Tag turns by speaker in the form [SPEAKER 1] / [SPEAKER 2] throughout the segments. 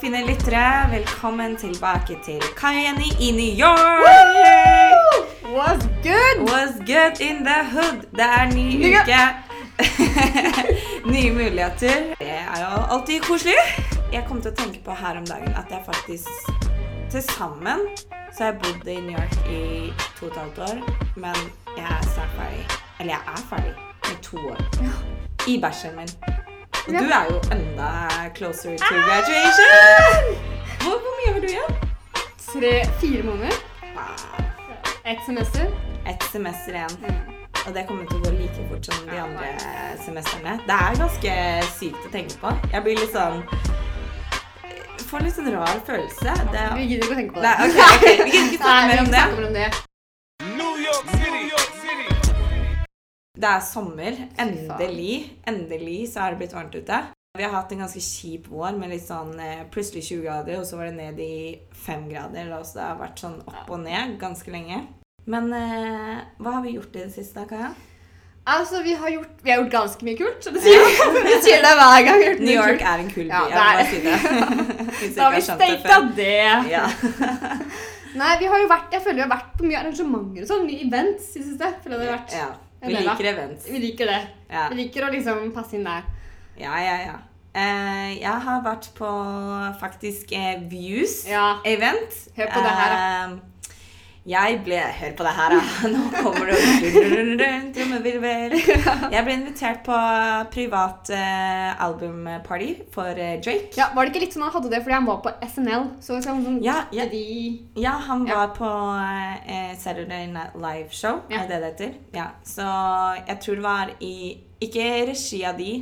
[SPEAKER 1] fine lyttere. Velkommen tilbake til Cayenne i New York!
[SPEAKER 2] What's good?
[SPEAKER 1] What's good in the hood? Det er ny
[SPEAKER 2] Nye-
[SPEAKER 1] uke. Nye muligheter. Det er jo alltid koselig. Jeg kom til å tenke på her om dagen at jeg faktisk til sammen så har jeg bodd i New York i to og et halvt år. Men jeg er snart ferdig. Eller jeg er ferdig med to år. I bæsjen min. Og
[SPEAKER 2] Ja.
[SPEAKER 1] du er jo enda closer to graduation! Hvor, hvor mye har du igjen?
[SPEAKER 2] Tre, fire måneder.
[SPEAKER 1] Wow.
[SPEAKER 2] Ett semester.
[SPEAKER 1] Ah, Et semester igjen. Og det kommer til å gå like fort som de andre semestrene. Det er ganske sykt å tenke på. Jeg blir litt sånn Får litt sånn rar følelse. Det,
[SPEAKER 2] Vi gidder ikke å tenke på det.
[SPEAKER 1] nei, ok, ok. Vi kan ikke
[SPEAKER 2] Nei,
[SPEAKER 1] snakke
[SPEAKER 2] vi
[SPEAKER 1] mer om det.
[SPEAKER 2] snakker om det.
[SPEAKER 3] New York City, New York City.
[SPEAKER 1] Det er sommer. Endelig. Endelig så er det blitt varmt ute. Vi har hatt en ganske kjip vår med litt sånn eh, plutselig 20 grader, og så var det ned i 5 grader. og Så det har vært sånn opp og ned ganske lenge. Men eh, hva har vi gjort i det siste, da, Kaja?
[SPEAKER 2] Altså, vi har gjort, vi har gjort ganske mye kult. Så det sier, vi sier det hver gang. vi har gjort
[SPEAKER 1] New
[SPEAKER 2] mye
[SPEAKER 1] York
[SPEAKER 2] kult.
[SPEAKER 1] er en kul by.
[SPEAKER 2] Ja,
[SPEAKER 1] jeg må bare si
[SPEAKER 2] det
[SPEAKER 1] det. Hvis
[SPEAKER 2] Da har
[SPEAKER 1] jeg
[SPEAKER 2] vi
[SPEAKER 1] ikke har skjønt
[SPEAKER 2] stekt av det.
[SPEAKER 1] Ja.
[SPEAKER 2] Nei, vi har jo vært, jeg føler vi har vært på mye arrangementer og sånn. Mye events i siste. Føler jeg det har vært.
[SPEAKER 1] ja. Vi
[SPEAKER 2] En del, da.
[SPEAKER 1] liker events.
[SPEAKER 2] Vi liker det.
[SPEAKER 1] Ja.
[SPEAKER 2] Vi liker å liksom passe inn der.
[SPEAKER 1] Ja, ja, ja. Eh, jeg har vært på faktisk eh, Views
[SPEAKER 2] Ja.
[SPEAKER 1] event.
[SPEAKER 2] Hør på det her,
[SPEAKER 1] da. jeg ble Hør på det her, da. Nå kommer det trommevirvel. Jeg ble invitert på privat eh, albumparty for eh, Drake.
[SPEAKER 2] Ja, Var det ikke litt sånn han hadde det fordi han var på SNL? Så liksom sånn,
[SPEAKER 1] Ja, ja.
[SPEAKER 2] De,
[SPEAKER 1] Ja, han
[SPEAKER 2] Ja.
[SPEAKER 1] var på eh, Saturday Night Live Show,
[SPEAKER 2] Ja.
[SPEAKER 1] er det det heter? Ja, så jeg tror det var i, ikke regi av de,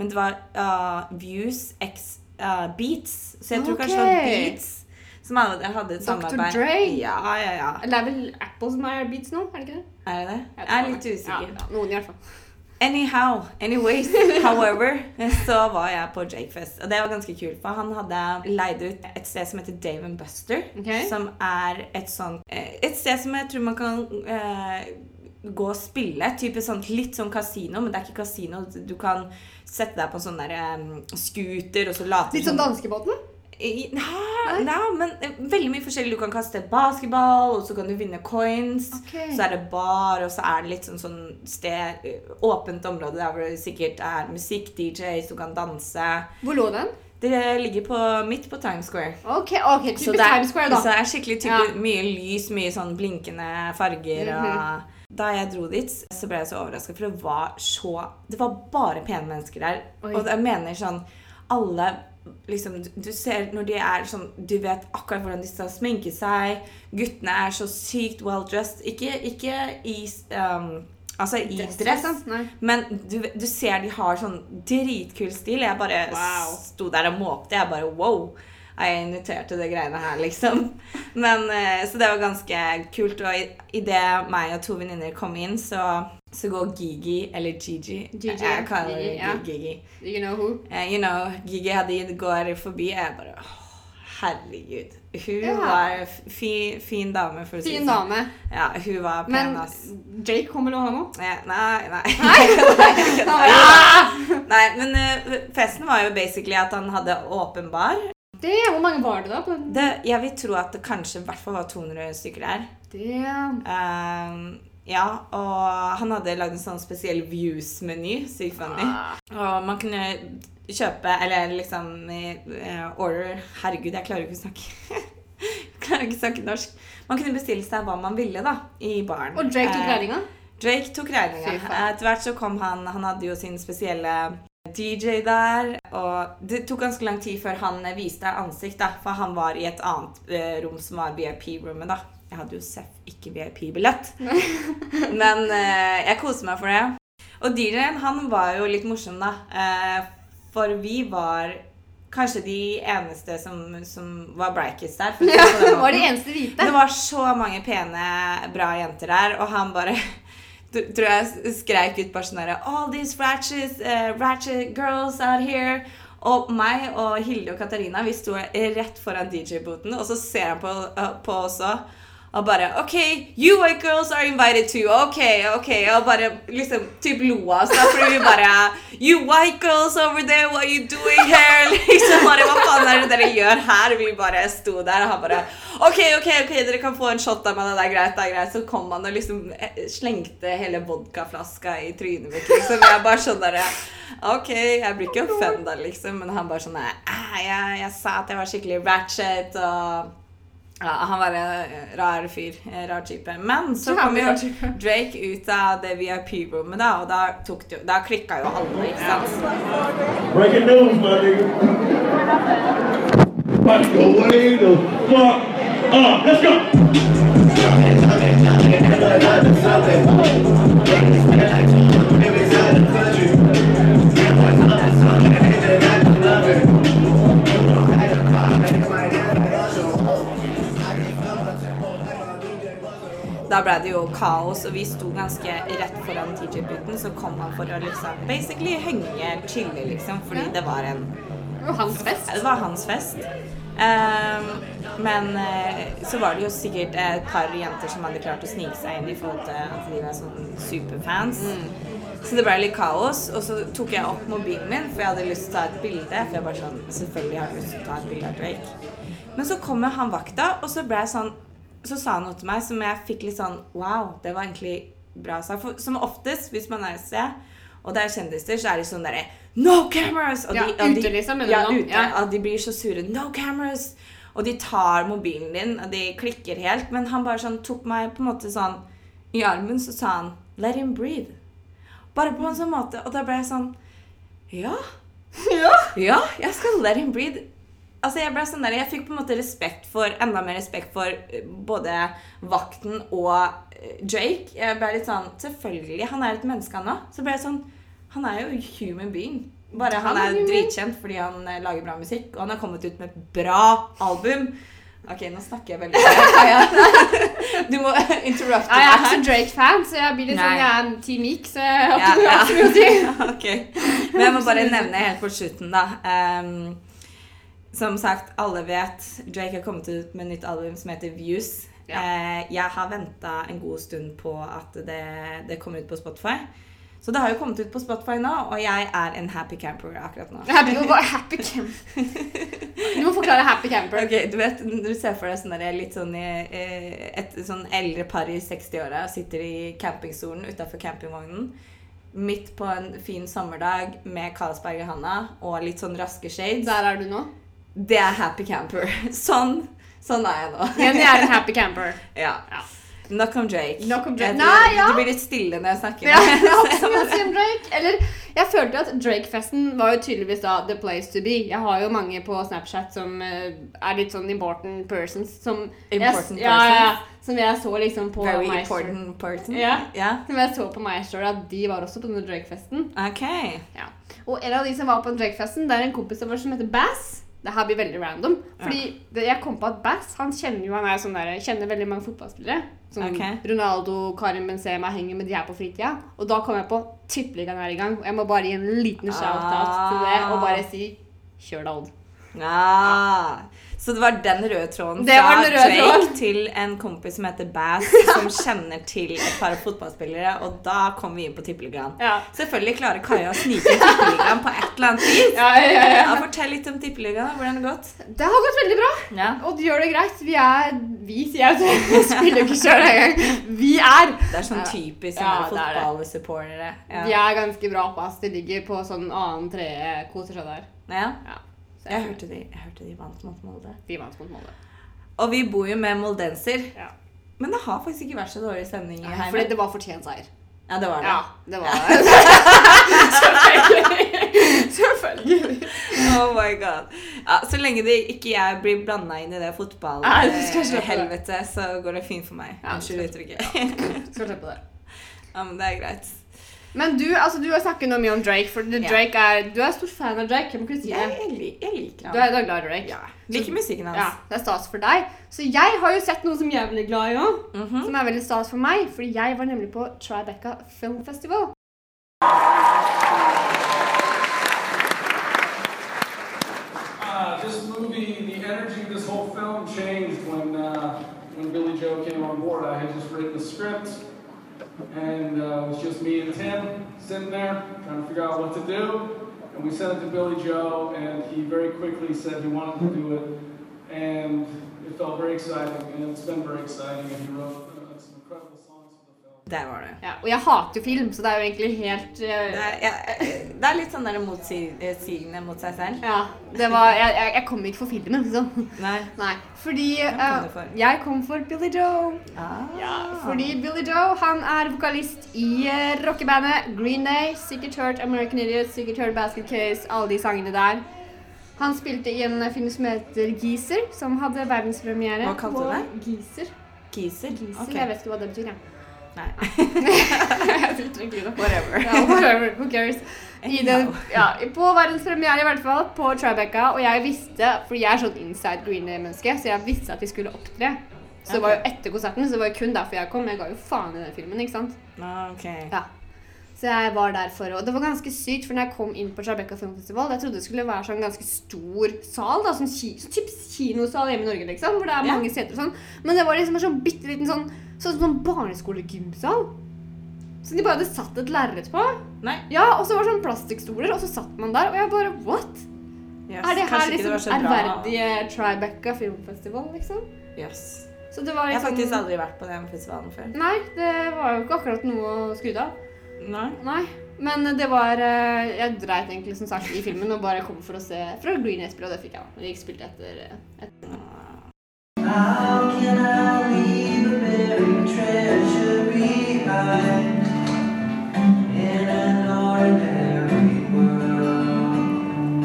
[SPEAKER 1] men det var eh, Views x eh, Beats, så jeg tror kanskje det var
[SPEAKER 2] Ok.
[SPEAKER 1] Beats som hadde, hadde et
[SPEAKER 2] Dr.
[SPEAKER 1] samarbeid.
[SPEAKER 2] Dre?
[SPEAKER 1] Ja, ja, ja.
[SPEAKER 2] det er vel Apple som er Beats nå? er det ikke det?
[SPEAKER 1] Er det det?
[SPEAKER 2] Jeg
[SPEAKER 1] Jeg er
[SPEAKER 2] tror
[SPEAKER 1] litt
[SPEAKER 2] det.
[SPEAKER 1] usikker.
[SPEAKER 2] Ja, noen i hvert fall.
[SPEAKER 1] Anyhow, anyways, however, så var jeg på Jakefest. Og det var ganske kult, for han hadde leid ut et sted som heter Dave and Buster.
[SPEAKER 2] Ok.
[SPEAKER 1] Som er et sånt eh, Et sted som jeg tror man kan eh, gå og spille. Type sånt, litt sånn kasino, men det er ikke kasino. Du kan sette deg på en sånn der eh, scooter, og så late
[SPEAKER 2] Litt
[SPEAKER 1] som-
[SPEAKER 2] sånn danskebåten?
[SPEAKER 1] i- Nei, nei, men eh, veldig mye forskjellig. Du kan kaste basketball, og så kan du vinne coins.
[SPEAKER 2] Ok.
[SPEAKER 1] Så er det bar, og så er det litt sånn, sånn sted, eh, åpent område der hvor det sikkert er musikk, DJs, du kan danse.
[SPEAKER 2] Hvor lå den?
[SPEAKER 1] Det ligger på, midt på Times Square.
[SPEAKER 2] Ok, ok,
[SPEAKER 1] Så
[SPEAKER 2] typisk
[SPEAKER 1] det er,
[SPEAKER 2] Times Square,
[SPEAKER 1] så
[SPEAKER 2] da.
[SPEAKER 1] det er skikkelig typisk, mye lys, mye sånn blinkende farger.
[SPEAKER 2] Mhm.
[SPEAKER 1] og da jeg dro dit, så ble jeg så overraska, for det var så Det var bare pene mennesker der.
[SPEAKER 2] Oi.
[SPEAKER 1] Og jeg mener sånn Alle liksom du- Du ser når de er sånn Du vet akkurat hvordan de skal sminke seg. Guttene er så sykt well dressed. Ikke, ikke i um, Altså i dress,
[SPEAKER 2] liksom. Nei.
[SPEAKER 1] men du, du ser de har sånn dritkul stil. Jeg bare
[SPEAKER 2] Wow.
[SPEAKER 1] sto der og måpte. Jeg bare wow. Jeg er invitert til det greiene her, liksom. Men, eh, så det var ganske kult. Og idet meg og to venninner kom inn, så, så går Gigi, eller Gigi
[SPEAKER 2] Gigi,
[SPEAKER 1] Jeg kaller
[SPEAKER 2] Gigi,
[SPEAKER 1] henne
[SPEAKER 2] ja.
[SPEAKER 1] Gigi.
[SPEAKER 2] You know who?
[SPEAKER 1] Eh, you know, Gigi Hadid går forbi, og jeg bare åh, herregud. Hun
[SPEAKER 2] Ja.
[SPEAKER 1] var en f- fin, fin dame, for å si
[SPEAKER 2] Fin
[SPEAKER 1] det sånn.
[SPEAKER 2] dame.
[SPEAKER 1] Ja, hun var pen,
[SPEAKER 2] Men
[SPEAKER 1] ass.
[SPEAKER 2] Jake kommer nå, han òg.
[SPEAKER 1] Nei, nei. nei. Ah! Nei, men eh, festen var jo basically at han hadde åpen bar.
[SPEAKER 2] Det, hvor mange var det da? På den?
[SPEAKER 1] Det, jeg vil tro at det kanskje i hvert fall var 200 stykker der.
[SPEAKER 2] Damn.
[SPEAKER 1] Ehm, ja, og han hadde lagd en sånn spesiell views-meny, sykt funny. Og man kunne kjøpe, eller liksom eh, order Herregud, jeg klarer jo ikke å snakke. Jeg klarer ikke å snakke norsk. Man kunne bestille seg hva man ville, da, i baren.
[SPEAKER 2] Og Drake tok
[SPEAKER 1] Eh,
[SPEAKER 2] regninga?
[SPEAKER 1] Drake tok regninga.
[SPEAKER 2] Fy faen.
[SPEAKER 1] Etter hvert så kom han Han hadde jo sin spesielle DJ der. Og det tok ganske lang tid før han eh, viste ansikt, da. For han var i et annet eh, rom som var VIP-rommet, da. Jeg hadde jo seff ikke VIP-billett. Men eh, jeg koste meg for det. Og DJ-en, han var jo litt morsom, da. Eh, for vi var kanskje de eneste som, som var breakest der. for å si det på den måten.
[SPEAKER 2] Var de eneste hvite?
[SPEAKER 1] Det var så mange pene, bra jenter der, og han bare tr- Tror jeg skreik ut bare sånn derre All these ratchet, eh, ratchet girls out here. Og meg og Hilde og Katarina vi sto rett foran DJ-boten, og så ser han på, eh, på oss også. Og bare OK, you white girls are invited too. OK, OK. Og bare liksom typ lo av oss. da, Fordi vi bare You white girls over there, what are you doing here? Liksom bare Hva faen er det dere gjør her? Og vi bare sto der, og han bare OK, OK, ok, dere kan få en shot av meg. Det er greit, det er greit. Så kom han og liksom eh, slengte hele vodkaflaska i trynet mitt, liksom. Jeg bare sånn derre OK, jeg blir ikke offenda, liksom, men han bare sånn eh, jeg, jeg sa at jeg var skikkelig ratchet, og ja, han var en eh, rar fyr. En rar type. Men så kom
[SPEAKER 2] Jævlig
[SPEAKER 1] jo
[SPEAKER 2] rar type.
[SPEAKER 1] Drake ut av det VIP-rommet, da, og da, tok det, jo- da klikka jo alle, ikke sant?
[SPEAKER 4] Breaking news, my nigga. About to way the fuck up. Let's go.
[SPEAKER 1] Da ble det jo kaos, og vi sto ganske rett foran TJ-booten, så kom han for å liksom basically henge, chille, liksom, fordi det var en
[SPEAKER 2] Og hans fest.
[SPEAKER 1] Ja, Det var hans fest. Ehm, men eh, så var det jo sikkert et par jenter som hadde klart å snike seg inn i forhold til at de var sånn superfans. Så det ble litt kaos. Og så tok jeg opp mobilen min, for jeg hadde lyst til å ta et bilde. For jeg bare sånn, selvfølgelig har jeg lyst til å ta et bilde av Drake. Men så kommer han vakta, og så ble jeg sånn Så sa han noe til meg som jeg fikk litt sånn Wow, det var egentlig bra sagt. For som oftest, hvis man er et sted og det er kjendiser, så er de sånn derre No cameras! Og
[SPEAKER 2] Ja, ute liksom, mener du
[SPEAKER 1] ja,
[SPEAKER 2] nå?
[SPEAKER 1] ute.
[SPEAKER 2] Ja.
[SPEAKER 1] Ja, de blir så sure. No cameras! Og de tar mobilen din, og de klikker helt. Men han bare sånn tok meg på en måte sånn i armen, så sa han Let him breathe. Bare på en sånn måte. Og da ble jeg sånn Ja. Ja, jeg skal let him breathe. Altså Jeg ble sånn der, jeg fikk på en måte respekt for, enda mer respekt for eh, både vakten og eh, Drake. Jeg ble litt sånn Selvfølgelig, han er et menneske, han òg. Så ble jeg sånn Han er jo human being. Bare han
[SPEAKER 2] Han er
[SPEAKER 1] er
[SPEAKER 2] human.
[SPEAKER 1] dritkjent fordi han eh, lager bra musikk, og han har kommet ut med et bra album. Ok, nå snakker jeg veldig mye. Du må interrupte
[SPEAKER 2] Ja, jeg er
[SPEAKER 1] meg
[SPEAKER 2] ikke
[SPEAKER 1] her.
[SPEAKER 2] så Drake-fan, så jeg blir litt sånn,
[SPEAKER 1] Nei.
[SPEAKER 2] jeg er en Team Meek, så jeg har
[SPEAKER 1] Ja,
[SPEAKER 2] ikke noe
[SPEAKER 1] ja.
[SPEAKER 2] annet å si.
[SPEAKER 1] ok. Men jeg må bare nevne helt på slutten, da. Ehm, som sagt, alle vet Drake har kommet ut med et nytt album som heter Views.
[SPEAKER 2] Ja.
[SPEAKER 1] Eh, jeg har venta en god stund på at det, det kommer ut på Spotify. Så det har jo kommet ut på Spotify nå, og jeg er en happy camper akkurat nå.
[SPEAKER 2] Happy, hva- happy camper. Du må forklare happy camper.
[SPEAKER 1] Ok, Du vet, du ser for deg sånn der, litt sånn i, eh, et sånn eldre par i 60-åra sitter i campingstolen utafor campingvognen midt på en fin sommerdag med Karlsberg i handa og litt sånn raske shades.
[SPEAKER 2] Der er du nå.
[SPEAKER 1] Det er happy camper. Sånn, sånn er jeg nå.
[SPEAKER 2] Jenny er en happy camper.
[SPEAKER 1] Ja.
[SPEAKER 2] Ja.
[SPEAKER 1] Nok om Drake.
[SPEAKER 2] Nok om Drake.
[SPEAKER 1] Jeg tror
[SPEAKER 2] Nei, ja.
[SPEAKER 1] Det blir litt stille når jeg snakker.
[SPEAKER 2] Ja, jeg har ikke så mye å si om Drake. Eller, jeg følte at Drake-festen var jo tydeligvis da the place to be. Jeg har jo mange på Snapchat som eh, er litt sånn important persons. Som
[SPEAKER 1] Important
[SPEAKER 2] jeg, ja, ja, ja, som jeg så liksom på
[SPEAKER 1] Very
[SPEAKER 2] My Story.
[SPEAKER 1] important person.
[SPEAKER 2] Ja.
[SPEAKER 1] ja.
[SPEAKER 2] Som jeg så på My Story, at de var også på denne Drake-festen.
[SPEAKER 1] Ok.
[SPEAKER 2] Ja. Og en av de som var på den Drake-festen, det er en kompis av oss som heter Bass. Det her blir veldig random. Fordi det, jeg kom på at Bass han kjenner jo han er sånn der, kjenner veldig mange fotballspillere. Som
[SPEAKER 1] Ok.
[SPEAKER 2] Ronaldo, Karim Benzema henger med de her på fritida. Og da kom jeg på tippeligaen er i gang. Og jeg må bare gi en liten shout-out til det og bare si kjør deg, Odd.
[SPEAKER 1] Ah. Så det var den røde tråden
[SPEAKER 2] Det var
[SPEAKER 1] fra
[SPEAKER 2] den røde
[SPEAKER 1] Drake
[SPEAKER 2] tråden.
[SPEAKER 1] til en kompis som heter Bass, som kjenner til et par fotballspillere, og da kom vi inn på tippeligaen.
[SPEAKER 2] Ja.
[SPEAKER 1] Selvfølgelig klarer Kaja å snike inn tippeligaen på et eller annet vis.
[SPEAKER 2] Ja, ja, ja.
[SPEAKER 1] Ja, fortell litt om tippeligaen. da. Hvordan har det gått?
[SPEAKER 2] Det har gått veldig bra.
[SPEAKER 1] Ja.
[SPEAKER 2] Odd gjør det greit. Vi er Vi, sier jeg. Vi spiller jo ikke sjøl engang. Vi er
[SPEAKER 1] Det er sånn
[SPEAKER 2] Ja.
[SPEAKER 1] typisk
[SPEAKER 2] Ja,
[SPEAKER 1] sånne
[SPEAKER 2] det er det.
[SPEAKER 1] fotballsupportere.
[SPEAKER 2] De
[SPEAKER 1] Ja.
[SPEAKER 2] er ganske bra på ass. De ligger på sånn annen tredje, koser seg der.
[SPEAKER 1] Ja.
[SPEAKER 2] Ja. Så
[SPEAKER 1] Jeg hørte de, jeg hørte de vant mot Molde.
[SPEAKER 2] De vant mot Molde.
[SPEAKER 1] Og vi bor jo med moldenser,
[SPEAKER 2] Ja.
[SPEAKER 1] men det har faktisk ikke vært så dårlig stemning i
[SPEAKER 2] Fordi
[SPEAKER 1] heimen.
[SPEAKER 2] det var fortjent seier.
[SPEAKER 1] Ja, det var det.
[SPEAKER 2] det var Selvfølgelig. Selvfølgelig.
[SPEAKER 1] Oh my god. Ja, så lenge det ikke jeg blir blanda inn i det
[SPEAKER 2] Nei, du skal slippe det.
[SPEAKER 1] fotballhelvetet, så går det fint for meg.
[SPEAKER 2] Ja, du
[SPEAKER 1] Unnskyld
[SPEAKER 2] skal
[SPEAKER 1] uttrykket.
[SPEAKER 2] Skal slippe det.
[SPEAKER 1] Ja, men det er greit.
[SPEAKER 2] Men du altså, du har snakket noe mye om Drake. For
[SPEAKER 1] Ja.
[SPEAKER 2] Drake er, Du er stor fan av Drake. Jeg må kunne si
[SPEAKER 1] Jeg,
[SPEAKER 2] det.
[SPEAKER 1] jeg, lik- jeg liker
[SPEAKER 2] Du
[SPEAKER 1] ham.
[SPEAKER 2] er, du er glad i Drake.
[SPEAKER 1] Ja. Liker musikken hans.
[SPEAKER 2] Ja, det er stas for deg. Så jeg har jo sett noe som jeg er veldig glad i òg.
[SPEAKER 1] Mhm.
[SPEAKER 2] Som er veldig stas for meg, fordi jeg var nemlig på Tribeca Film Festival.
[SPEAKER 5] Uh, this movie, the energy of this whole film changed when, uh, when when Billy Joe came on board, I had just written the script, and uh, it was just me and Tim sitting there trying to figure out what to do. And we sent it to Billy Joe, and he very quickly said he wanted to do it, and it felt very exciting, and it's been very exciting. And he wrote uh, some incredible songs for the film.
[SPEAKER 1] Der var det.
[SPEAKER 2] Ja, og jeg hater jo film, så det er jo egentlig helt eh,
[SPEAKER 1] Det er, ja, det er litt sånn der motsigende mot seg selv.
[SPEAKER 2] Ja, det var Jeg, jeg, jeg kom ikke for filmen, liksom.
[SPEAKER 1] Nei.
[SPEAKER 2] Nei, fordi
[SPEAKER 1] Hvem kom
[SPEAKER 2] eh,
[SPEAKER 1] du for?
[SPEAKER 2] Jeg kom for Billy Joe.
[SPEAKER 1] Ah.
[SPEAKER 2] Fordi Billy Joe han er vokalist i eh, rockebandet Green Day. Sikkert hørt American Idiot, sikkert hørt Basket Case, alle de sangene der. Han spilte i en film som heter Geezer, som hadde verdenspremiere.
[SPEAKER 1] Hva kalte du
[SPEAKER 2] det? Geezer.
[SPEAKER 1] Kiser.
[SPEAKER 2] Geezer,
[SPEAKER 1] Ok.
[SPEAKER 2] Jeg vet ikke hva det betyr, jeg.
[SPEAKER 1] Nei.
[SPEAKER 2] Jeg tror ikke det.
[SPEAKER 1] Whatever.
[SPEAKER 2] Ja, whatever, who cares. I den,
[SPEAKER 1] Anyhow.
[SPEAKER 2] ja, på verdenspremiere i hvert fall, på Tribeca, og jeg visste, fordi jeg er sånn inside Green Day-menneske, så jeg visste at vi skulle opptre. Så det var jo etter konserten, så det var jo kun derfor jeg kom, jeg ga jo faen i den filmen, ikke sant?
[SPEAKER 1] Ah, Ok.
[SPEAKER 2] Ja. Så jeg var der for å Og det var ganske sykt, for når jeg kom inn på Tribeca Filmfestival, jeg trodde det skulle være sånn ganske stor sal, da, sånn ki sånn typ kinosal hjemme i Norge, liksom, hvor det er
[SPEAKER 1] Ja.
[SPEAKER 2] mange seter og sånn. Men det var liksom en sånn bitte liten sånn, sånn, sånn barneskolegymsal. Så de bare hadde satt et lerret på.
[SPEAKER 1] Nei.
[SPEAKER 2] Ja, og så var det sånn plastikkstoler, og så satt man der, og jeg bare What?
[SPEAKER 1] Yes.
[SPEAKER 2] Er det her
[SPEAKER 1] Kanskje ikke
[SPEAKER 2] liksom
[SPEAKER 1] var så bra.
[SPEAKER 2] ærverdige Tribeca filmfestival, liksom?
[SPEAKER 1] Yes.
[SPEAKER 2] Så det var
[SPEAKER 1] Jeg har
[SPEAKER 2] liksom
[SPEAKER 1] faktisk aldri vært på den festivalen før.
[SPEAKER 2] Nei, det var jo ikke akkurat noe å skryte av.
[SPEAKER 1] Nei.
[SPEAKER 2] Nei. Men det var eh, Jeg dreit egentlig som sagt i filmen og bare kom for å se fra Green Espel, og det fikk jeg. da. Vi gikk spilt etter, eh, etter.
[SPEAKER 6] How can I leave a buried treasure behind in an ordinary world?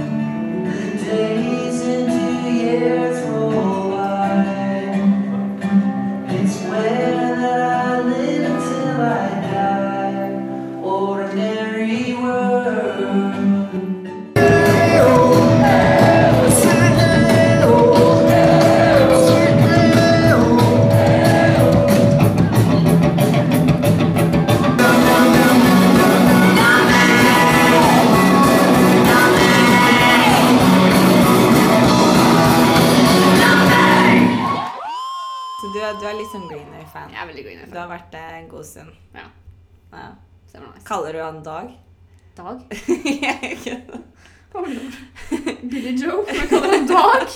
[SPEAKER 6] The days into years roll by. It's where that I live till I die. Ordinary world.
[SPEAKER 1] Så du, er- du er
[SPEAKER 2] sånn
[SPEAKER 1] liksom Greener-fan.
[SPEAKER 2] Jeg er veldig Green
[SPEAKER 1] Du
[SPEAKER 2] Espel.
[SPEAKER 1] har vært det en god stund.
[SPEAKER 2] Ja.
[SPEAKER 1] Ja.
[SPEAKER 2] Så det var nice.
[SPEAKER 1] Kaller du han Dag?
[SPEAKER 2] Dag.
[SPEAKER 1] Jeg kødder.
[SPEAKER 2] Billy Joe. Hva kaller han Dag?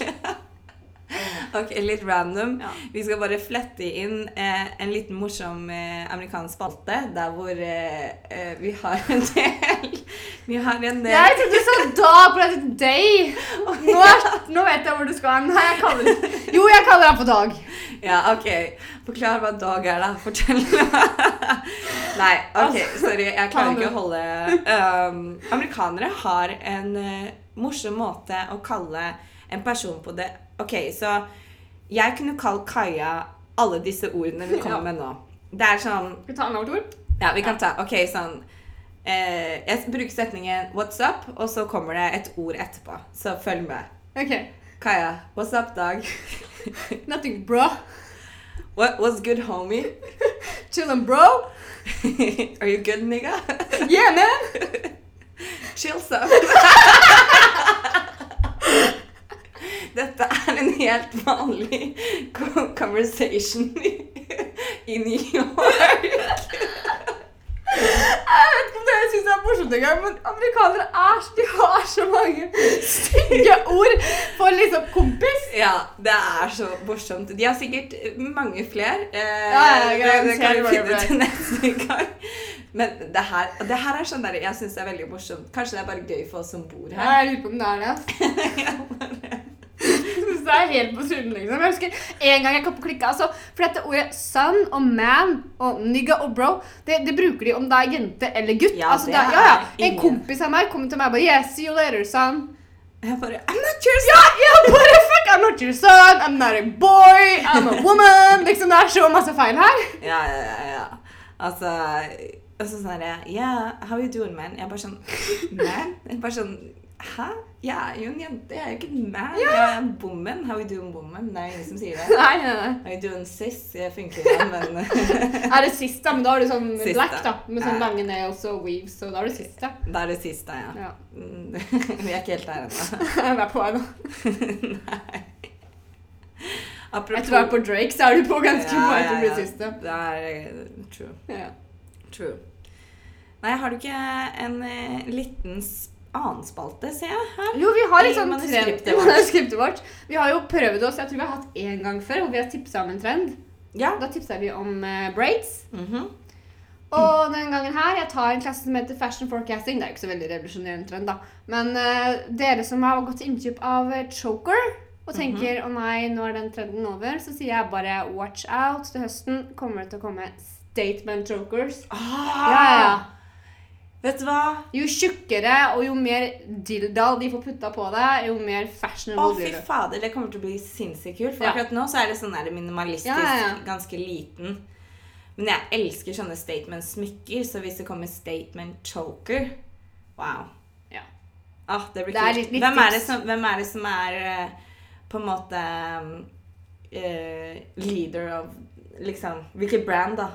[SPEAKER 1] ok, litt random.
[SPEAKER 2] Ja.
[SPEAKER 1] Vi skal bare flette inn eh, en liten morsom eh, amerikansk spalte der hvor eh, eh, vi har en del Vi har en del
[SPEAKER 2] Jeg trodde du sa dag på dette day. Nå, er, nå vet jeg hvor du skal hen. Nei, jeg kaller, jo, jeg kaller han for Dag.
[SPEAKER 1] Ja, ok. Forklar hva dag er, da. Fortell. Nei, ok, sorry. Jeg klarer ikke å holde um, Amerikanere har en eh, morsom måte å kalle en person på det Ok, så jeg kunne kalt Kaja alle disse ordene vi kommer med nå. Det er sånn
[SPEAKER 2] Skal vi ta annethvert ord?
[SPEAKER 1] Ja, vi kan ta Ok, sånn eh, Jeg bruker setningen 'what's up', og så kommer det et ord etterpå. Så følg med.
[SPEAKER 2] Ok.
[SPEAKER 1] Kaja, what's up, Dag?
[SPEAKER 2] Nothing, bro.
[SPEAKER 1] What, what's good, homie?
[SPEAKER 2] Chillin', bro.
[SPEAKER 1] Are you good, nigga?
[SPEAKER 2] Yeah, man.
[SPEAKER 1] Chill up. Dette er en helt vanlig co- conversation i- i New York.
[SPEAKER 2] Jeg vet ikke om dere syns det er morsomt engang, men amerikanere er, de har så mange stygge ord for liksom kompis.
[SPEAKER 1] Ja, det er så morsomt. De har sikkert mange flere. Eh,
[SPEAKER 2] Ja, ja, jeg
[SPEAKER 1] det, det kan vi
[SPEAKER 2] garanterer mange
[SPEAKER 1] finne
[SPEAKER 2] flere.
[SPEAKER 1] til neste gang. Men det her, det her er sånn der, jeg syns det er veldig morsomt. Kanskje det er bare gøy for oss som bor her.
[SPEAKER 2] jeg lurer på om det er det. Jeg synes det er helt på trynet, liksom. Jeg husker en gang jeg kom på klikka, altså, for dette ordet son og man og nigga og bro, det, det bruker de om det er jente eller gutt.
[SPEAKER 1] Ja,
[SPEAKER 2] altså,
[SPEAKER 1] det
[SPEAKER 2] det er, ja, ja.
[SPEAKER 1] er
[SPEAKER 2] En
[SPEAKER 1] ingen-
[SPEAKER 2] kompis av meg kom til meg og bare Yeah, see you later, son.
[SPEAKER 1] Jeg bare I'm not your
[SPEAKER 2] Ja, jeg bare fuck, I'm not your son, I'm not a boy, I'm a woman. Liksom, det er så masse feil her.
[SPEAKER 1] Ja, ja, ja, ja. Altså Og så sånn herre Yeah, how you doing, man? Jeg bare sånn Man? Jeg bare sånn Hæ? Jeg er jo en jente. Jeg er jo ikke en man. Jeg er en woman. How you doing, woman? Det er ingen som sier det.
[SPEAKER 2] Nei, nei, nei.
[SPEAKER 1] How you doing, sis? Jeg funker jo, men
[SPEAKER 2] Er det sist, da? Men da har du sånn
[SPEAKER 1] Sist,
[SPEAKER 2] black,
[SPEAKER 1] da.
[SPEAKER 2] da. Med sånn
[SPEAKER 1] Ja.
[SPEAKER 2] lange nails og weaves, så da er du sist, da.
[SPEAKER 1] Da er det siste, ja.
[SPEAKER 2] Ja.
[SPEAKER 1] Mm, Vi er ikke helt der ennå.
[SPEAKER 2] Jeg er på her nå.
[SPEAKER 1] Apropos
[SPEAKER 2] Etter å ha vært på Drake, så er du på ganske
[SPEAKER 1] Ja,
[SPEAKER 2] bra
[SPEAKER 1] ja,
[SPEAKER 2] etter å bli
[SPEAKER 1] ja.
[SPEAKER 2] siste.
[SPEAKER 1] Det er eh, true.
[SPEAKER 2] Ja.
[SPEAKER 1] True. Nei, har du ikke en eh, liten s- annen spalte, ser jeg her?
[SPEAKER 2] Jo, vi har
[SPEAKER 1] I
[SPEAKER 2] litt sånn
[SPEAKER 1] manuskriptet
[SPEAKER 2] trend i
[SPEAKER 1] vårt.
[SPEAKER 2] manuskriptet vårt. Vi har jo prøvd oss, jeg tror vi har hatt én gang før, hvor vi har tipsa om en trend.
[SPEAKER 1] Ja.
[SPEAKER 2] Da tipsa vi om eh, braids.
[SPEAKER 1] Mhm.
[SPEAKER 2] Og den gangen her, jeg tar en klasse som heter Fashion Forecasting. Det er jo ikke så veldig revolusjonerende trend, da. Men eh, dere som har gått til innkjøp av eh, choker og
[SPEAKER 1] Mhm.
[SPEAKER 2] tenker 'Å nei, nå er den trenden over', så sier jeg bare 'watch out'. Til høsten kommer det til å komme statement chokers.
[SPEAKER 1] Ah,
[SPEAKER 2] Ja, ja, ja.
[SPEAKER 1] Vet du hva?
[SPEAKER 2] Jo tjukkere og jo mer dilldall de får putta på deg, jo mer
[SPEAKER 1] Å,
[SPEAKER 2] fashionable
[SPEAKER 1] fy
[SPEAKER 2] blir du.
[SPEAKER 1] fader, det kommer til å bli sinnssykt kult. For
[SPEAKER 2] Ja.
[SPEAKER 1] akkurat nå så er det sånn der minimalistisk,
[SPEAKER 2] Ja, ja, ja.
[SPEAKER 1] ganske liten. Men jeg elsker sånne statement-smykker, så hvis det kommer statement-choker Wow.
[SPEAKER 2] Ja.
[SPEAKER 1] Ah, det blir
[SPEAKER 2] Det er
[SPEAKER 1] kult.
[SPEAKER 2] litt- litt
[SPEAKER 1] hvem, er det
[SPEAKER 2] tips.
[SPEAKER 1] som, hvem er det som er eh, på en måte eh, leader of Liksom Hvilket brand, da?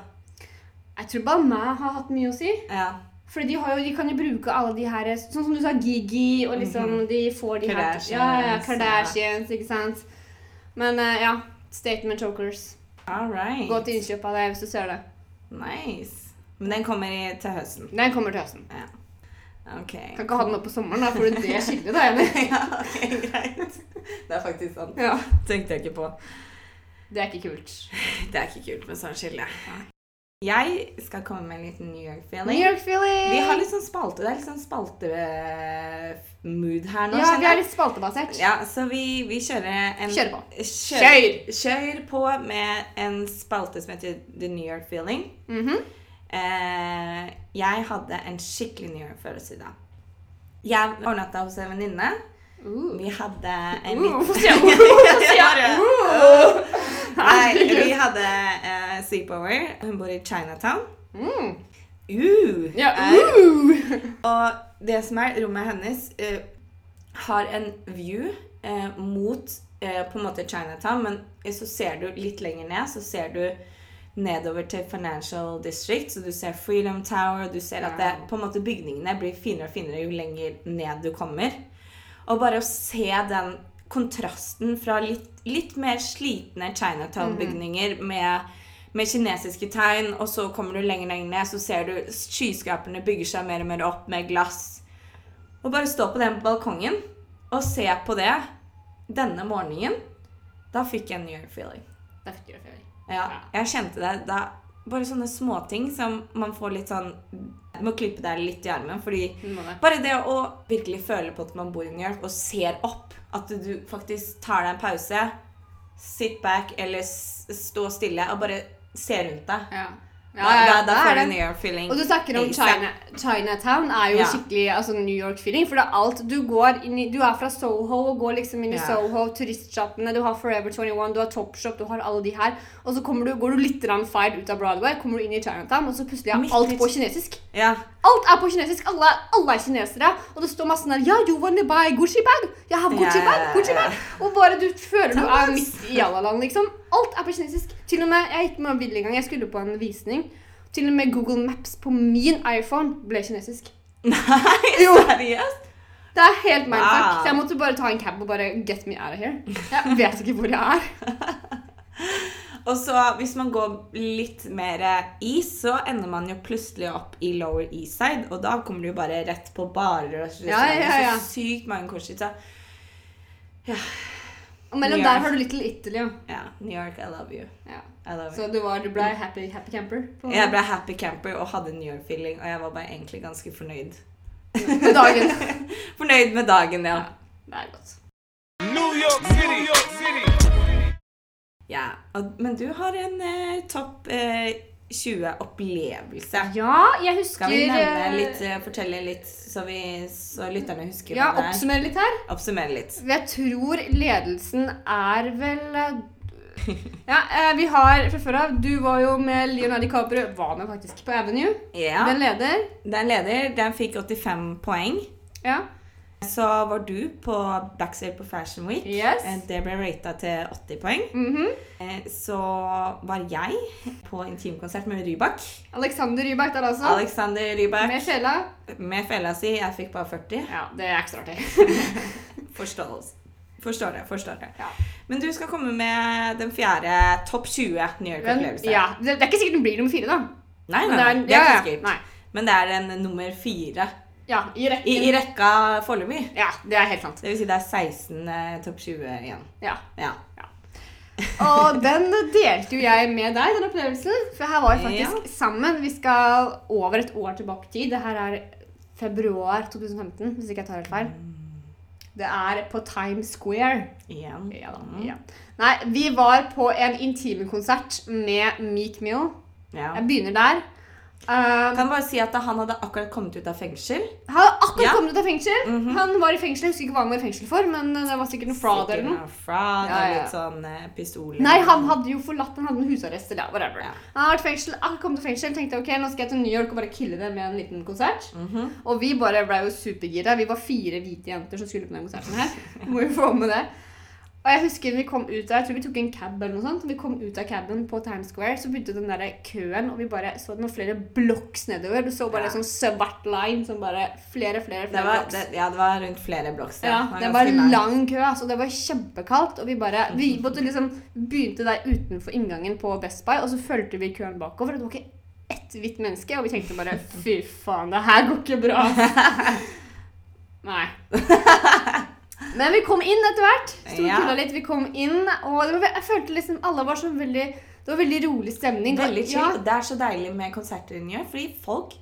[SPEAKER 2] Jeg tror Balmain har hatt mye å si.
[SPEAKER 1] Ja.
[SPEAKER 2] Fordi de, har jo, de kan jo bruke alle de her Sånn som du sa, Gigi, og liksom De får de
[SPEAKER 1] Mhm. Kardashians,
[SPEAKER 2] her ja, ja, Kardashians, ikke sant. Men eh, ja. Statement chokers.
[SPEAKER 1] All right.
[SPEAKER 2] Gå til innkjøp av det hvis du ser det.
[SPEAKER 1] Nice. Men den kommer i, til høsten.
[SPEAKER 2] Den kommer til høsten.
[SPEAKER 1] Ok.
[SPEAKER 2] Kan ikke ha den opp på sommeren, da får du det skikkelig, da, Jenny.
[SPEAKER 1] ja, ok, greit. Det er faktisk sant.
[SPEAKER 2] Ja.
[SPEAKER 1] Tenkte jeg ikke på.
[SPEAKER 2] Det er ikke kult.
[SPEAKER 1] Det er ikke kult med sånn skille. Jeg skal komme med en liten New
[SPEAKER 2] New
[SPEAKER 1] York-feeling.
[SPEAKER 2] York feeling!
[SPEAKER 1] Vi har litt sånn spalte, det er litt sånn spalte-mood her nå,
[SPEAKER 2] ja, vi er
[SPEAKER 1] jeg.
[SPEAKER 2] litt spaltebasert.
[SPEAKER 1] Ja, så vi, vi kjører en
[SPEAKER 2] Kjør på.
[SPEAKER 1] Kjør, kjør på med en spalte som heter The New York Feeling.
[SPEAKER 2] Mhm.
[SPEAKER 1] Eh, jeg hadde en skikkelig New York-følelse i dag. Jeg overnatta hos en venninne.
[SPEAKER 2] Uh.
[SPEAKER 1] Vi hadde eh, en
[SPEAKER 2] Uh,
[SPEAKER 1] liten
[SPEAKER 2] Hvorfor sier jeg uh, hvorfor sier jeg
[SPEAKER 1] Ja,
[SPEAKER 2] uh?
[SPEAKER 1] Nei, vi
[SPEAKER 2] Herregud.
[SPEAKER 1] hadde eh, sleepover. Hun bor i Chinatown.
[SPEAKER 2] Mm.
[SPEAKER 1] Uh,
[SPEAKER 2] Ja,
[SPEAKER 1] eh,
[SPEAKER 2] uh.
[SPEAKER 1] og det som er rommet hennes, eh, har en view eh, mot eh, på en måte Chinatown, men så ser du litt lenger ned, så ser du nedover til Financial District, så du ser Freedom Tower, du ser at det, på en måte bygningene blir finere og finere jo lenger ned du kommer. Og bare å se den kontrasten fra litt, litt mer slitne Chinatown-bygninger med, med kinesiske tegn, og så kommer du lenger lenger ned, så ser du skyskraperne bygger seg mer og mer opp med glass. Og bare stå på den balkongen og se på det denne morgenen, da fikk jeg en New York-feeling.
[SPEAKER 2] Det er ikke feeling.
[SPEAKER 1] Ja, jeg kjente det da. Bare sånne småting som man får litt sånn Du må klippe deg litt i armen, fordi
[SPEAKER 2] Du må det.
[SPEAKER 1] bare det å virkelig føle på at man bor i New York og ser opp, at du faktisk tar deg en pause, sit back eller s- stå stille og bare se rundt deg.
[SPEAKER 2] Ja.
[SPEAKER 1] Da, da, da
[SPEAKER 2] det er
[SPEAKER 1] får
[SPEAKER 2] det.
[SPEAKER 1] du New York-feeling.
[SPEAKER 2] Og du snakker om
[SPEAKER 1] ASAP.
[SPEAKER 2] China, Chinatown er jo
[SPEAKER 1] Ja.
[SPEAKER 2] skikkelig altså New York-feeling. For det er alt Du går inn i, du er fra Soho og går liksom inn i
[SPEAKER 1] Ja.
[SPEAKER 2] Soho, turistsjappene, du har Forever 21, du har Topshop, du har alle de her. Og så kommer du, går du litt rann feil ut av Broadway, kommer du inn i Chinatown, og så plutselig
[SPEAKER 1] Midt
[SPEAKER 2] er alt
[SPEAKER 1] i-
[SPEAKER 2] på kinesisk.
[SPEAKER 1] Ja.
[SPEAKER 2] Alt er på kinesisk. Alle, alle er kinesere. Og det står masse der Ja, you wanna buy Gucci bag? Jeg har Gucci
[SPEAKER 1] Ja, ja,
[SPEAKER 2] bag,
[SPEAKER 1] ja,
[SPEAKER 2] Gucci
[SPEAKER 1] ja.
[SPEAKER 2] bag. Og bare du føler du er
[SPEAKER 1] Starbucks.
[SPEAKER 2] midt i Jalaland, liksom. Alt er på kinesisk. Til og med, Jeg gikk med Bill en gang, jeg skulle på en visning. Til og med Google Maps på min iPhone ble kinesisk.
[SPEAKER 1] Nei,
[SPEAKER 2] Jo.
[SPEAKER 1] seriøst?
[SPEAKER 2] Det er helt mindfuck.
[SPEAKER 1] Wow.
[SPEAKER 2] Så jeg måtte bare ta en cab og bare get me out of here. Jeg vet ikke hvor jeg er.
[SPEAKER 1] Og så hvis man går litt mer is, så ender man jo plutselig opp i Lower East Side, og da kommer du jo bare rett på barer og restauranter.
[SPEAKER 2] ja, ja.
[SPEAKER 1] Så sykt mange korsskitt. så-
[SPEAKER 2] Og mellom
[SPEAKER 1] Ja.
[SPEAKER 2] der har du Little Italy.
[SPEAKER 1] Ja, New York, I love you.
[SPEAKER 2] Ja.
[SPEAKER 1] I love you.
[SPEAKER 2] Så du, var, du ble happy, happy camper? På,
[SPEAKER 1] Jeg ble happy camper og hadde New York-feeling, og jeg var bare egentlig ganske fornøyd.
[SPEAKER 2] på dagen.
[SPEAKER 1] Fornøyd med dagen, ja.
[SPEAKER 2] Det er godt.
[SPEAKER 3] New York City, New York City.
[SPEAKER 1] ja. Og, men du har en eh, topp eh, 20-opplevelse.
[SPEAKER 2] Ja, jeg husker
[SPEAKER 1] Skal vi nevne
[SPEAKER 2] eh,
[SPEAKER 1] litt, eh, fortelle litt, så, vi, så lytterne husker
[SPEAKER 2] Ja,
[SPEAKER 1] hva det er?
[SPEAKER 2] oppsummere litt her.
[SPEAKER 1] Oppsummere litt.
[SPEAKER 2] Jeg tror ledelsen er vel eh, Ja, eh, vi har fra før av Du var jo med Leonardo DiCaprio Var med faktisk på Avenue.
[SPEAKER 1] Ja.
[SPEAKER 2] Den leder.
[SPEAKER 1] Den leder, den fikk 85 poeng.
[SPEAKER 2] Ja.
[SPEAKER 1] Så var du på Backstage på Fashion Week.
[SPEAKER 2] Yes.
[SPEAKER 1] Eh, Det ble rata til 80 poeng.
[SPEAKER 2] Mhm.
[SPEAKER 1] Eh, Så var jeg på intimkonsert med Rybak.
[SPEAKER 2] Alexander Rybak der altså.
[SPEAKER 1] Alexander Rybak.
[SPEAKER 2] Med fela.
[SPEAKER 1] Med fella si, jeg fikk bare 40.
[SPEAKER 2] Ja, det er ikke så artig.
[SPEAKER 1] Forståelse. Forstår det. forstår det.
[SPEAKER 2] Ja.
[SPEAKER 1] Men du skal komme med den fjerde topp 20 New
[SPEAKER 2] Men,
[SPEAKER 1] York-opplevelse.
[SPEAKER 2] ja, det, det er ikke sikkert den blir nummer fire, da.
[SPEAKER 1] Nei, nei,
[SPEAKER 2] Men det er-
[SPEAKER 1] nei, det er
[SPEAKER 2] ja, ja,
[SPEAKER 1] ikke sikkert.
[SPEAKER 2] nei.
[SPEAKER 1] Men det er en nummer fire
[SPEAKER 2] Ja, i rekken.
[SPEAKER 1] i, i rekka foreløpig.
[SPEAKER 2] Ja, det er helt sant.
[SPEAKER 1] Det vil si det er 16 eh, topp 20 igjen.
[SPEAKER 2] Ja.
[SPEAKER 1] Ja.
[SPEAKER 2] Og den delte jo jeg med deg, den opplevelsen. For her var vi faktisk sammen. Vi skal over et år tilbake i tid. Det her er februar 2015, hvis ikke jeg tar helt feil. Det er på Times Square.
[SPEAKER 1] Igjen.
[SPEAKER 2] Ja da.
[SPEAKER 1] Mm.
[SPEAKER 2] Ja. Nei, vi var på en intimkonsert med Meek Mill.
[SPEAKER 1] Ja.
[SPEAKER 2] Jeg begynner der. Um,
[SPEAKER 1] Kan bare si at han hadde akkurat kommet ut av fengsel.
[SPEAKER 2] han hadde akkurat
[SPEAKER 1] Ja. Mhm.
[SPEAKER 2] kommet ut av fengsel. Han var i fengsel, jeg husker ikke hva han var i fengsel for, men det var sikkert noe fraud eller noe.
[SPEAKER 1] Fraud
[SPEAKER 2] Ja, ja.
[SPEAKER 1] og litt sånn eh, pistol.
[SPEAKER 2] Nei, han hadde jo forlatt Han hadde en husarrest eller ja, whatever.
[SPEAKER 1] Ja.
[SPEAKER 2] Han hadde vært i fengsel, han kom til fengsel, tenkte ok, nå skal jeg til New York og bare kille det med en liten konsert.
[SPEAKER 1] Mhm. Mm.
[SPEAKER 2] Og vi bare ble jo supergira. Vi var fire hvite jenter som skulle på den konserten her. Må jo få med det. Og jeg husker vi kom ut der, jeg tror vi tok en cab eller noe sånt. Vi kom ut av caben på Times Square, så begynte den der køen, og vi bare så det var flere blokks nedover. Du så bare
[SPEAKER 1] Ja.
[SPEAKER 2] en sånn svart line som bare flere, flere, flere
[SPEAKER 1] Det var,
[SPEAKER 2] blocks.
[SPEAKER 1] det, ja, det var rundt flere blokks.
[SPEAKER 2] Ja, det var en lang kø, altså. Det var kjempekaldt. Og vi bare Vi måtte liksom begynte der utenfor inngangen på Best Buy, og så fulgte vi køen bakover. Og det var ikke ett hvitt menneske, og vi tenkte bare Fy faen, det her går ikke bra. Nei. Men vi kom inn etter hvert. Sto
[SPEAKER 1] Ja.
[SPEAKER 2] og tulla litt. Vi kom inn, og det var, jeg følte liksom alle var så veldig Det var veldig rolig stemning. Det var-
[SPEAKER 1] Veldig chill.
[SPEAKER 2] Ja.
[SPEAKER 1] Det er så deilig med konserter i New York, fordi folk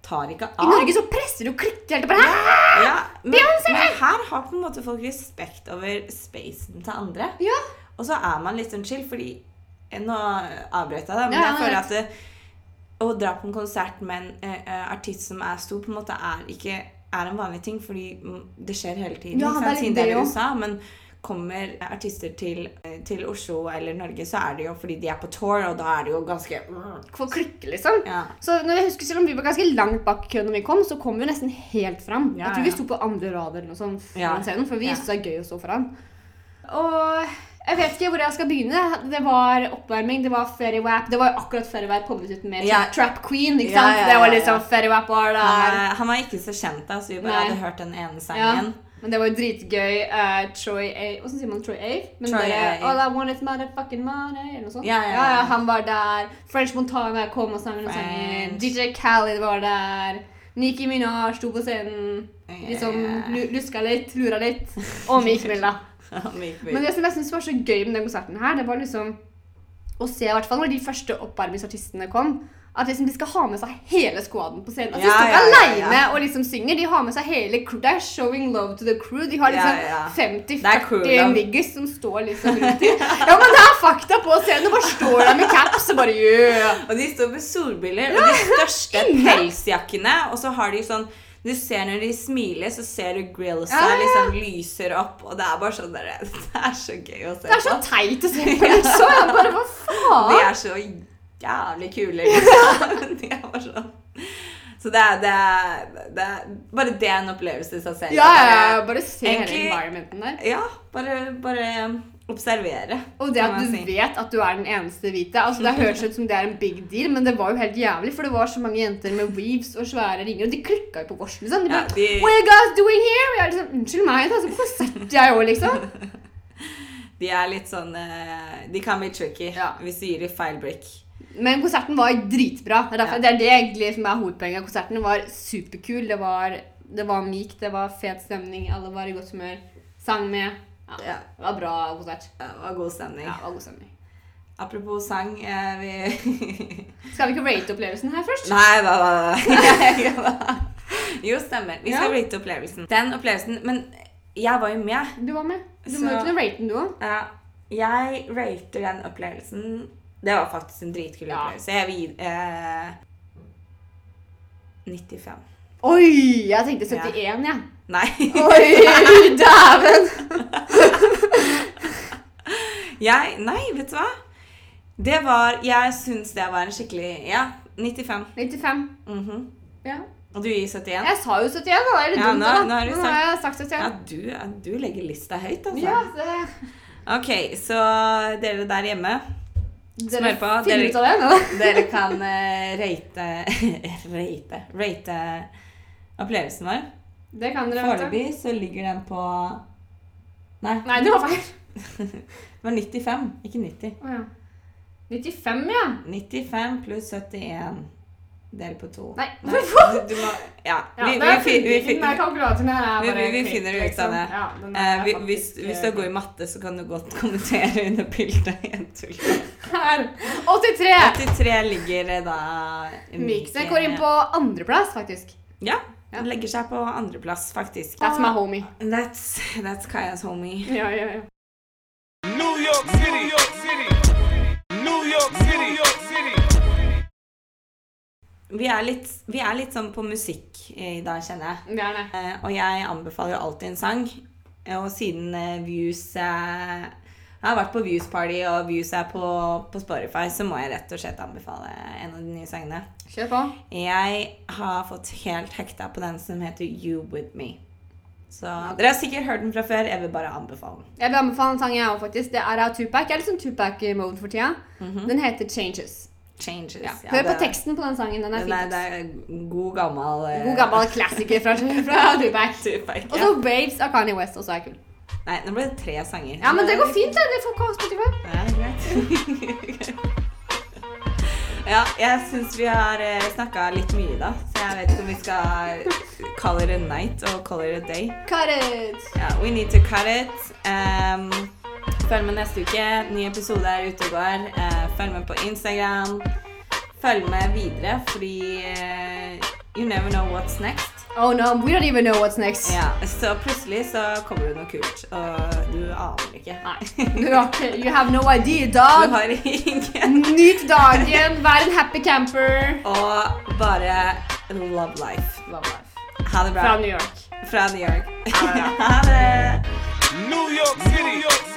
[SPEAKER 1] tar ikke
[SPEAKER 2] I
[SPEAKER 1] av.
[SPEAKER 2] Norge så presser du og klikker helt og bare «Hæ?»
[SPEAKER 1] ja, men,
[SPEAKER 2] Beyoncé!
[SPEAKER 1] men her har på en måte folk respekt over spacen til andre.
[SPEAKER 2] Ja.
[SPEAKER 1] Og så er man litt sånn chill, fordi eh, Nå avbrøt jeg deg, men
[SPEAKER 2] Ja,
[SPEAKER 1] jeg
[SPEAKER 2] ja,
[SPEAKER 1] føler
[SPEAKER 2] ja.
[SPEAKER 1] at det, å dra på en konsert med en eh, eh, artist som er stor, på en måte er ikke er en vanlig ting, fordi mm, det skjer hele tiden.
[SPEAKER 2] Ja,
[SPEAKER 1] ikke
[SPEAKER 2] det
[SPEAKER 1] sant?
[SPEAKER 2] er litt
[SPEAKER 1] Siden det er
[SPEAKER 2] det
[SPEAKER 1] i
[SPEAKER 2] også.
[SPEAKER 1] USA, men kommer artister til, eh, til Oslo eller Norge, så er det jo fordi de er på tour, og da er det jo ganske
[SPEAKER 2] Folk klikker, liksom.
[SPEAKER 1] ja.
[SPEAKER 2] Så når jeg husker Selv om vi var ganske langt bak i køen, når vi kom, så kom vi jo nesten helt fram.
[SPEAKER 1] Ja,
[SPEAKER 2] jeg tror
[SPEAKER 1] ja.
[SPEAKER 2] vi sto på andre rad, eller noe sånt,
[SPEAKER 1] Ja.
[SPEAKER 2] foran scenen, for vi
[SPEAKER 1] Ja.
[SPEAKER 2] syntes det er gøy å stå foran. Og jeg vet ikke hvor jeg skal begynne. Det var oppvarming, det var Fairy Wap. Det var jo akkurat Fairy Wap kommet ut med
[SPEAKER 1] Ja.
[SPEAKER 2] Trap Queen. ikke
[SPEAKER 1] Ja,
[SPEAKER 2] sant?
[SPEAKER 1] ja, ja,
[SPEAKER 2] Det var
[SPEAKER 1] ja.
[SPEAKER 2] liksom Fairy Wap var der.
[SPEAKER 1] Eh, Han var ikke så kjent da, så vi bare
[SPEAKER 2] Nei.
[SPEAKER 1] hadde hørt den ene
[SPEAKER 2] Ja.
[SPEAKER 1] sangen.
[SPEAKER 2] Men det var jo dritgøy. eh, Troy A Hvordan sier man Troy A? Men
[SPEAKER 1] Troy
[SPEAKER 2] bare,
[SPEAKER 1] Ave.
[SPEAKER 2] All I want is motherfucking money, eller noe sånt.
[SPEAKER 1] Ja, ja, ja.
[SPEAKER 2] Han var der. French Montana kom og sang noen sanger.
[SPEAKER 1] French.
[SPEAKER 2] DJ Khaled var der. Nicki Minaj sto på scenen. Liksom lu- luska litt, lura litt. Og Meek Mill, da. Men
[SPEAKER 1] Men
[SPEAKER 2] det som jeg synes var så gøy med den konserten her, det var liksom å se, i hvert fall når de første oppvarmingsartistene kom, at liksom de skal ha med seg hele skvaden på scenen. At de
[SPEAKER 1] Ja,
[SPEAKER 2] står ikke
[SPEAKER 1] ja, ja,
[SPEAKER 2] alene
[SPEAKER 1] ja.
[SPEAKER 2] og liksom synger. De har med seg hele crew. Det er showing love to the crew. De har liksom
[SPEAKER 1] Ja, ja. Det er crew
[SPEAKER 2] 50-40
[SPEAKER 1] love.
[SPEAKER 2] niggers som står liksom rundt i. Ja, men det er fakta på scenen. Og bare står der med caps og bare yeah.
[SPEAKER 1] og de står med solbriller og de største
[SPEAKER 2] Ingen.
[SPEAKER 1] pelsjakkene. Og så har de sånn Du ser når de smiler, så ser du grillsa
[SPEAKER 2] Ja, ja, ja.
[SPEAKER 1] liksom lyser opp. Og det er bare sånn der, Det er så gøy å se
[SPEAKER 2] Det er så
[SPEAKER 1] på.
[SPEAKER 2] teit å se på, liksom. Jeg bare, hva
[SPEAKER 1] De
[SPEAKER 2] faen?
[SPEAKER 1] er så jævlig kule, liksom. De er bare sånn. Så det er, det er, det er Bare det er en opplevelse i seg selv.
[SPEAKER 2] Ja, ja, ja, bare se hele
[SPEAKER 1] Egentlig-
[SPEAKER 2] environmenten der.
[SPEAKER 1] Ja, bare, bare observere.
[SPEAKER 2] Og det at
[SPEAKER 1] kan
[SPEAKER 2] du
[SPEAKER 1] man si.
[SPEAKER 2] vet at du er den eneste hvite altså Det høres ut som det er en big deal, men det var jo helt jævlig. For det var så mange jenter med weaves og svære ringer, og de klikka jo på vårs. Liksom. De
[SPEAKER 1] Ja,
[SPEAKER 2] bare,
[SPEAKER 1] de-
[SPEAKER 2] What are you guys doing here? Og jeg er liksom, Unnskyld meg, da, så på konsert jeg òg, liksom.
[SPEAKER 1] De er litt sånn eh, De kan bli tricky
[SPEAKER 2] Ja.
[SPEAKER 1] hvis du gir dem feil brick.
[SPEAKER 2] Men konserten var dritbra. Det er, derfor,
[SPEAKER 1] Ja.
[SPEAKER 2] det, er det egentlig som er hovedpoenget. Konserten var superkul. Det var, det var myk, det var fet stemning, alle var i godt humør. Sang med. Ja,
[SPEAKER 1] Ja.
[SPEAKER 2] Det var bra konsert.
[SPEAKER 1] Ja, Det var god stemning.
[SPEAKER 2] Ja, det var god stemning.
[SPEAKER 1] Apropos sang eh, vi...
[SPEAKER 2] Skal vi ikke rate opplevelsen her først?
[SPEAKER 1] Nei, hva, hva, hva. Jo, stemmer. Vi skal
[SPEAKER 2] Ja.
[SPEAKER 1] rate opplevelsen. Den opplevelsen Men jeg var jo med.
[SPEAKER 2] Du var med. Du må
[SPEAKER 1] Så-
[SPEAKER 2] jo kunne rate den, du òg.
[SPEAKER 1] Ja, jeg rater den opplevelsen Det var faktisk en dritkul
[SPEAKER 2] Ja.
[SPEAKER 1] opplevelse. Jeg vil gi eh, 95.
[SPEAKER 2] Oi! Jeg tenkte 71, jeg. Ja.
[SPEAKER 1] Nei.
[SPEAKER 2] Oi, dæven!
[SPEAKER 1] Jeg Nei, vet du hva? Det var Jeg syns det var en skikkelig Ja, 95.
[SPEAKER 2] 95.
[SPEAKER 1] Mhm.
[SPEAKER 2] Ja.
[SPEAKER 1] Og du gir 71?
[SPEAKER 2] Jeg sa jo 71, da. Er det
[SPEAKER 1] Ja,
[SPEAKER 2] dumt,
[SPEAKER 1] nå-
[SPEAKER 2] da?
[SPEAKER 1] nå har du
[SPEAKER 2] har jeg sagt 71.
[SPEAKER 1] Ja, du, ja, du legger lista høyt, altså.
[SPEAKER 2] Ja, det,
[SPEAKER 1] Ok, så dere der hjemme,
[SPEAKER 2] dere
[SPEAKER 1] Smør på,
[SPEAKER 2] finner
[SPEAKER 1] dere-
[SPEAKER 2] ut av det. nå.
[SPEAKER 1] dere kan eh, rate Rate Rate opplevelsen vår.
[SPEAKER 2] Det kan dere. vet du.
[SPEAKER 1] Foreløpig så ligger den på Nei,
[SPEAKER 2] Nei, det var feil.
[SPEAKER 1] det var 95, ikke 90.
[SPEAKER 2] Å ja. 95, ja.
[SPEAKER 1] 95 pluss 71 del på to.
[SPEAKER 2] Nei.
[SPEAKER 1] Du, du må Ja.
[SPEAKER 2] Ja,
[SPEAKER 1] Vi,
[SPEAKER 2] det
[SPEAKER 1] vi,
[SPEAKER 2] er
[SPEAKER 1] fin- vi,
[SPEAKER 2] fint.
[SPEAKER 1] fin-
[SPEAKER 2] Den der kalkulatoren her er
[SPEAKER 1] vi-
[SPEAKER 2] bare
[SPEAKER 1] vi- vi
[SPEAKER 2] klikk,
[SPEAKER 1] finner ut av
[SPEAKER 2] liksom.
[SPEAKER 1] det.
[SPEAKER 2] Ja, den
[SPEAKER 1] eh,
[SPEAKER 2] er
[SPEAKER 1] vi,
[SPEAKER 2] faktisk,
[SPEAKER 1] hvis, hvis du
[SPEAKER 2] eh,
[SPEAKER 1] er god i matte, så kan du godt kommentere under bildet. Jeg tuller.
[SPEAKER 2] eh, Her. 83!
[SPEAKER 1] 83 ligger eh, da eh,
[SPEAKER 2] Mikse går inn på andreplass, faktisk.
[SPEAKER 1] Ja.
[SPEAKER 2] Ja.
[SPEAKER 1] Den legger seg på andreplass, faktisk.
[SPEAKER 2] That's my homie.
[SPEAKER 1] That's, that's Kaya's homie.
[SPEAKER 2] Ja, ja, ja.
[SPEAKER 3] New York City, New York City, New York City, New York City.
[SPEAKER 1] Vi er litt, vi er litt sånn på musikk i dag, kjenner jeg.
[SPEAKER 2] Det er det.
[SPEAKER 1] Eh, Og jeg anbefaler jo alltid en sang. Eh, Og siden eh, Views eh, Jeg har vært på Views Party, og Views er på, på Spotify, så må jeg rett og slett anbefale en av de nye sangene.
[SPEAKER 2] Kjør på.
[SPEAKER 1] Jeg har fått helt hekta på den som heter You With Me. Så Dere har sikkert hørt den fra før. Jeg vil bare anbefale den.
[SPEAKER 2] Jeg vil anbefale en sang jeg òg, faktisk. Det er av Tupac. Jeg er litt sånn Tupac-mode for tida. Den heter Changes.
[SPEAKER 1] Changes.
[SPEAKER 2] Ja.
[SPEAKER 1] Mhm. ja,
[SPEAKER 2] Hør på
[SPEAKER 1] det-
[SPEAKER 2] teksten på den sangen. Den er
[SPEAKER 1] Den
[SPEAKER 2] fin.
[SPEAKER 1] er, det
[SPEAKER 2] tekst.
[SPEAKER 1] er god gammel eh,
[SPEAKER 2] God gammel klassiker fra, fra Tupac.
[SPEAKER 1] Tupac,
[SPEAKER 2] Og
[SPEAKER 1] ja.
[SPEAKER 2] så Waves av Kanye West også er kul.
[SPEAKER 1] Nei, nå ble det tre sanger.
[SPEAKER 2] Ja, men det går fint, det. Det får komme på Spotify.
[SPEAKER 1] Ja, greit. ja, jeg syns vi har snakka litt mye, da. Så jeg vet ikke om vi skal call it a night og call it a day.
[SPEAKER 2] Cut it!
[SPEAKER 1] Ja, we need to cut it. Um, følg med neste uke. Ny episode er ute og går. Eh, følg med på Instagram. Følg med videre, fordi eh, you never know what's next.
[SPEAKER 2] Oh no, we don't even know what's next.
[SPEAKER 1] Ja, så plutselig så kommer det noe kult, og du aner ikke.
[SPEAKER 2] Du har ikke- You have no idea,
[SPEAKER 1] Du
[SPEAKER 2] dog.
[SPEAKER 1] har ingen
[SPEAKER 2] Nyt dagen, vær en happy camper.
[SPEAKER 1] Og bare love life.
[SPEAKER 2] Love life.
[SPEAKER 1] Ha det bra.
[SPEAKER 2] Fra New York.
[SPEAKER 1] Fra New York. ha det.
[SPEAKER 3] New York City, New York City.